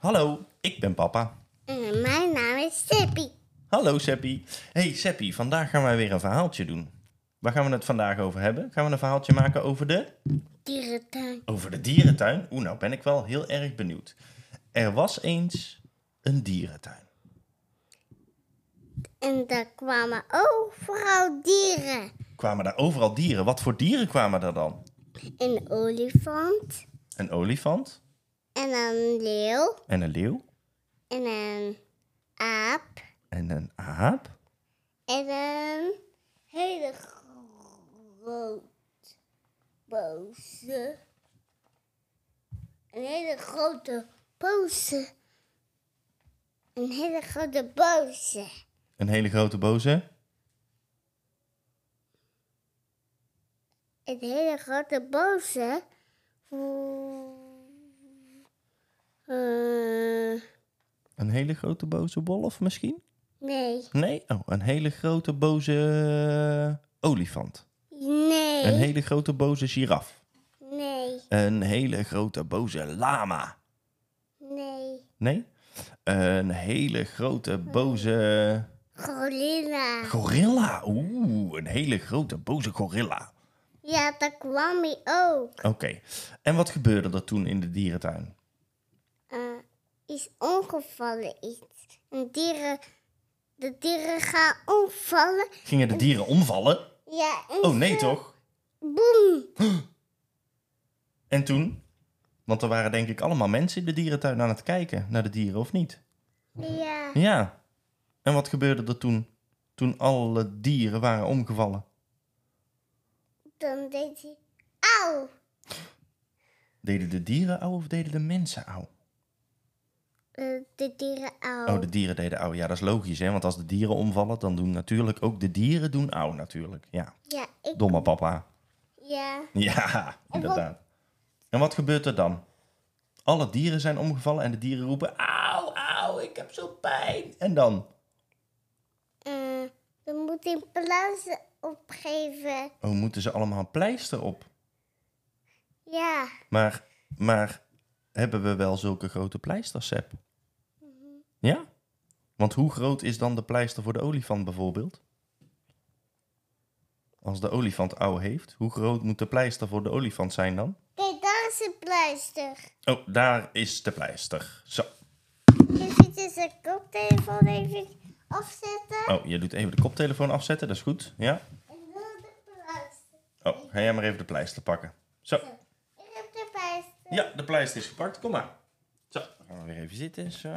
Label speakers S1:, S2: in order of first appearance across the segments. S1: Hallo, ik ben papa.
S2: En Eh, mijn naam is Sippy.
S1: Hallo Seppie. Hey Seppie, vandaag gaan wij weer een verhaaltje doen. Waar gaan we het vandaag over hebben? Gaan we een verhaaltje maken over de...
S2: Dierentuin.
S1: Over de dierentuin? Oeh, nou ben ik wel heel erg benieuwd. Er was eens een dierentuin.
S2: En daar kwamen overal dieren.
S1: Kwamen daar overal dieren? Wat voor dieren kwamen daar dan?
S2: Een olifant.
S1: Een olifant
S2: En een leeuw.
S1: en een leeuw
S2: En een aap.
S1: en een aap.
S2: En een hele groot boze. Een hele grote boze. Een hele grote boze.
S1: Een hele grote boze.
S2: Een hele grote boze. Eh,
S1: Een hele grote boze wolf misschien?
S2: nee.
S1: Nee? Oh, een hele grote boze olifant.
S2: Nee.
S1: Een hele grote boze giraf.
S2: Nee.
S1: Een hele grote boze lama.
S2: Nee.
S1: Nee? Een hele grote boze
S2: Gorilla.
S1: gorilla. Oeh, een hele grote boze gorilla.
S2: Ja, daar kwam hij ook.
S1: Oké. En wat gebeurde er toen in de dierentuin?
S2: Eh, is ongevallen iets. En dieren, de dieren gaan omvallen.
S1: Gingen de dieren omvallen?
S2: Ja, en
S1: Oh nee
S2: ze-
S1: toch?
S2: Boem.
S1: En toen? Want er waren denk ik allemaal mensen in de dierentuin aan het kijken naar de dieren of niet?
S2: Ja,
S1: Ja. En wat gebeurde er toen? Toen alle dieren waren omgevallen.
S2: dan deed hij. Auw.
S1: Deden de dieren au of deden de mensen au?
S2: Eh, de dieren auw.
S1: Oh, de dieren deden au. Ja, dat is logisch, hè? Want als de dieren omvallen, dan doen natuurlijk ook de dieren doen au, natuurlijk. Ja,
S2: Ja, ik.
S1: domme papa.
S2: Ja.
S1: Ja, inderdaad. En wat gebeurt er dan? Alle dieren zijn omgevallen en de dieren roepen... Au, au, ik heb zo pijn. En dan?
S2: eh, dan moet hij een plaats opgeven.
S1: Oh, moeten ze allemaal een pleister op?
S2: Ja.
S1: Maar, maar hebben we wel zulke grote pleisters, Sepp? Ja? Want hoe groot is dan de pleister voor de olifant bijvoorbeeld? Als de olifant ouw heeft, hoe groot moet de pleister voor de olifant zijn dan?
S2: Kijk, daar is een pleister.
S1: Oh, daar is de pleister. Zo.
S2: Even zijn koptelefoon even afzetten.
S1: Oh, je doet even de koptelefoon afzetten, dat is goed. Ja?
S2: En dan de pleister.
S1: Oh, ga jij maar even de pleister pakken. Zo.
S2: Ik heb de pleister.
S1: Ja, de pleister is gepakt. Kom maar. Zo, dan gaan we weer even zitten. Zo.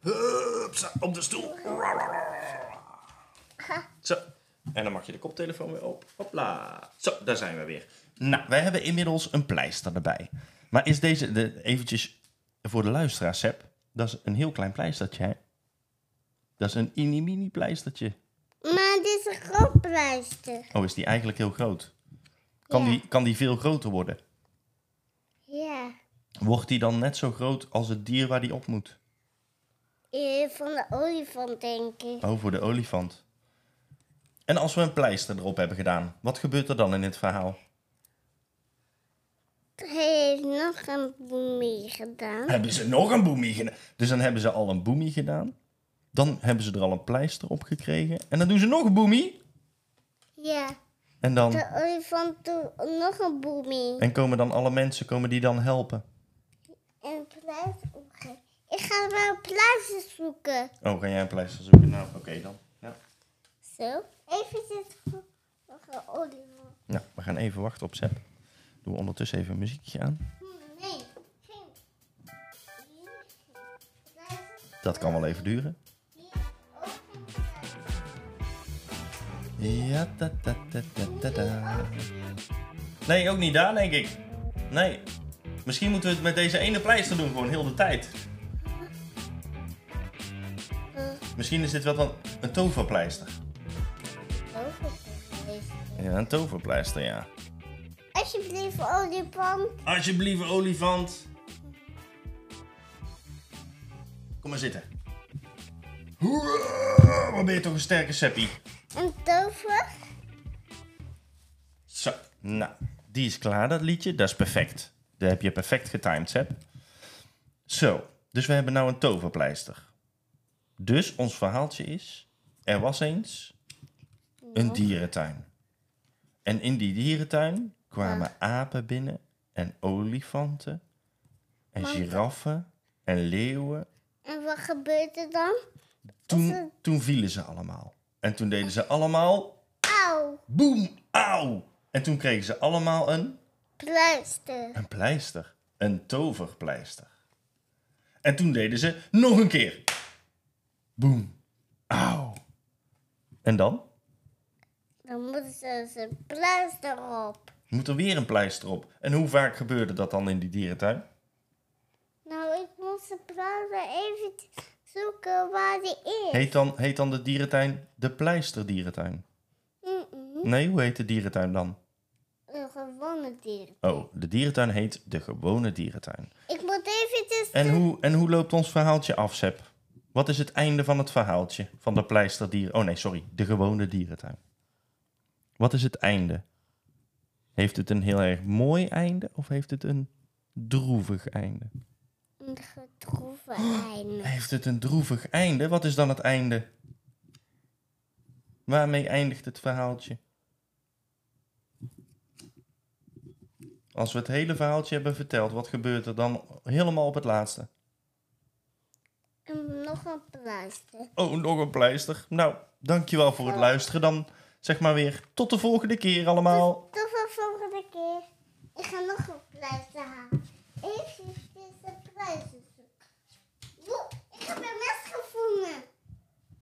S1: Hupsa, op de stoel. Zo. En dan mag je de koptelefoon weer op. Hopla. Zo, daar zijn we weer. Nou, wij hebben inmiddels een pleister erbij. Maar is deze, de, eventjes voor de luisteraar, Seb. Dat is een heel klein pleistertje, hè? Dat is een mini-mini pleistertje.
S2: Maar dit is een groot pleister.
S1: Oh, is die eigenlijk heel groot? Kan,
S2: Ja.
S1: die, kan die veel groter worden?
S2: Ja.
S1: Wordt die dan net zo groot als het dier waar die op moet?
S2: Eh, Van de olifant, denk ik.
S1: Oh, voor de olifant. En als we een pleister erop hebben gedaan, wat gebeurt er dan in dit verhaal?
S2: Hij heeft nog een boemie gedaan.
S1: Hebben ze nog een boemie gedaan? Dus dan hebben ze al een boemie gedaan. Dan hebben ze er al een pleister op gekregen. En dan doen ze nog een boemie.
S2: Ja.
S1: En, dan,
S2: De olifant doet nog een boemie.
S1: en komen dan alle mensen komen die dan helpen.
S2: En een pleister opgeven. Ik ga wel een pleister zoeken.
S1: Oh, ga jij een pleister zoeken? Nou, oké dan. Ja.
S2: Zo. Even nog een olifant.
S1: Nou, we gaan even wachten op Sepp. Doen we ondertussen even een muziekje aan.
S2: Hmm, Nee, geen.
S1: Dat kan wel even duren. Ja, ta, ta, ta, ta, ta, ta. Nee, ook niet daar, denk ik. Nee. Misschien moeten we het met deze ene pleister doen, gewoon heel de tijd. Misschien is dit wel dan een toverpleister. Ja, een toverpleister, ja.
S2: Alsjeblieft, olifant.
S1: Alsjeblieft, olifant. Kom maar zitten. Hoera, Wat ben je toch een sterke seppie.
S2: Een tover.
S1: Zo, nou, die is klaar, dat liedje. Dat is perfect. Dat heb je perfect getimed, Seb. Zo, Dus we hebben nou een toverpleister. Dus ons verhaaltje is... Er was eens een dierentuin. En in die dierentuin kwamen apen binnen... en olifanten en giraffen en leeuwen.
S2: En wat gebeurt er dan?
S1: Toen, toen vielen ze allemaal. En toen deden ze allemaal...
S2: Auw,
S1: Boem! Auw! En toen kregen ze allemaal een...
S2: pluister.
S1: Een pleister. Een toverpleister. En toen deden ze nog een keer. Boem. Auw. En dan?
S2: Dan moeten ze dus een pluister op.
S1: Moet er weer een pleister op. En hoe vaak gebeurde dat dan in die dierentuin?
S2: Nou, ik moest de pluister even zoeken waar die is.
S1: Heet dan, heet dan de dierentuin de pleisterdierentuin?
S2: Mm-mm.
S1: Nee, hoe heet de dierentuin dan?
S2: Een gewone dier.
S1: Oh, de dierentuin heet de gewone dierentuin.
S2: Ik moet eventjes...
S1: En hoe, en hoe loopt ons verhaaltje af, Seb? Wat is het einde van het verhaaltje van de pleisterdieren... Oh nee, sorry, de gewone dierentuin. Wat is het einde? Heeft het een heel erg mooi einde of heeft het een droevig einde?
S2: Een getroeven einde.
S1: Heeft het een droevig einde? Wat is dan het einde? Waarmee eindigt het verhaaltje? Als we het hele verhaaltje hebben verteld, wat gebeurt er dan helemaal op het laatste?
S2: En nog een pluister.
S1: Oh, nog een pleister. Nou, dankjewel voor het luisteren. Dan zeg maar weer tot de volgende keer allemaal.
S2: Tot de volgende keer. Ik ga nog een pluister halen. Even een pluister zoeken. Woe, ik heb een mes gevonden.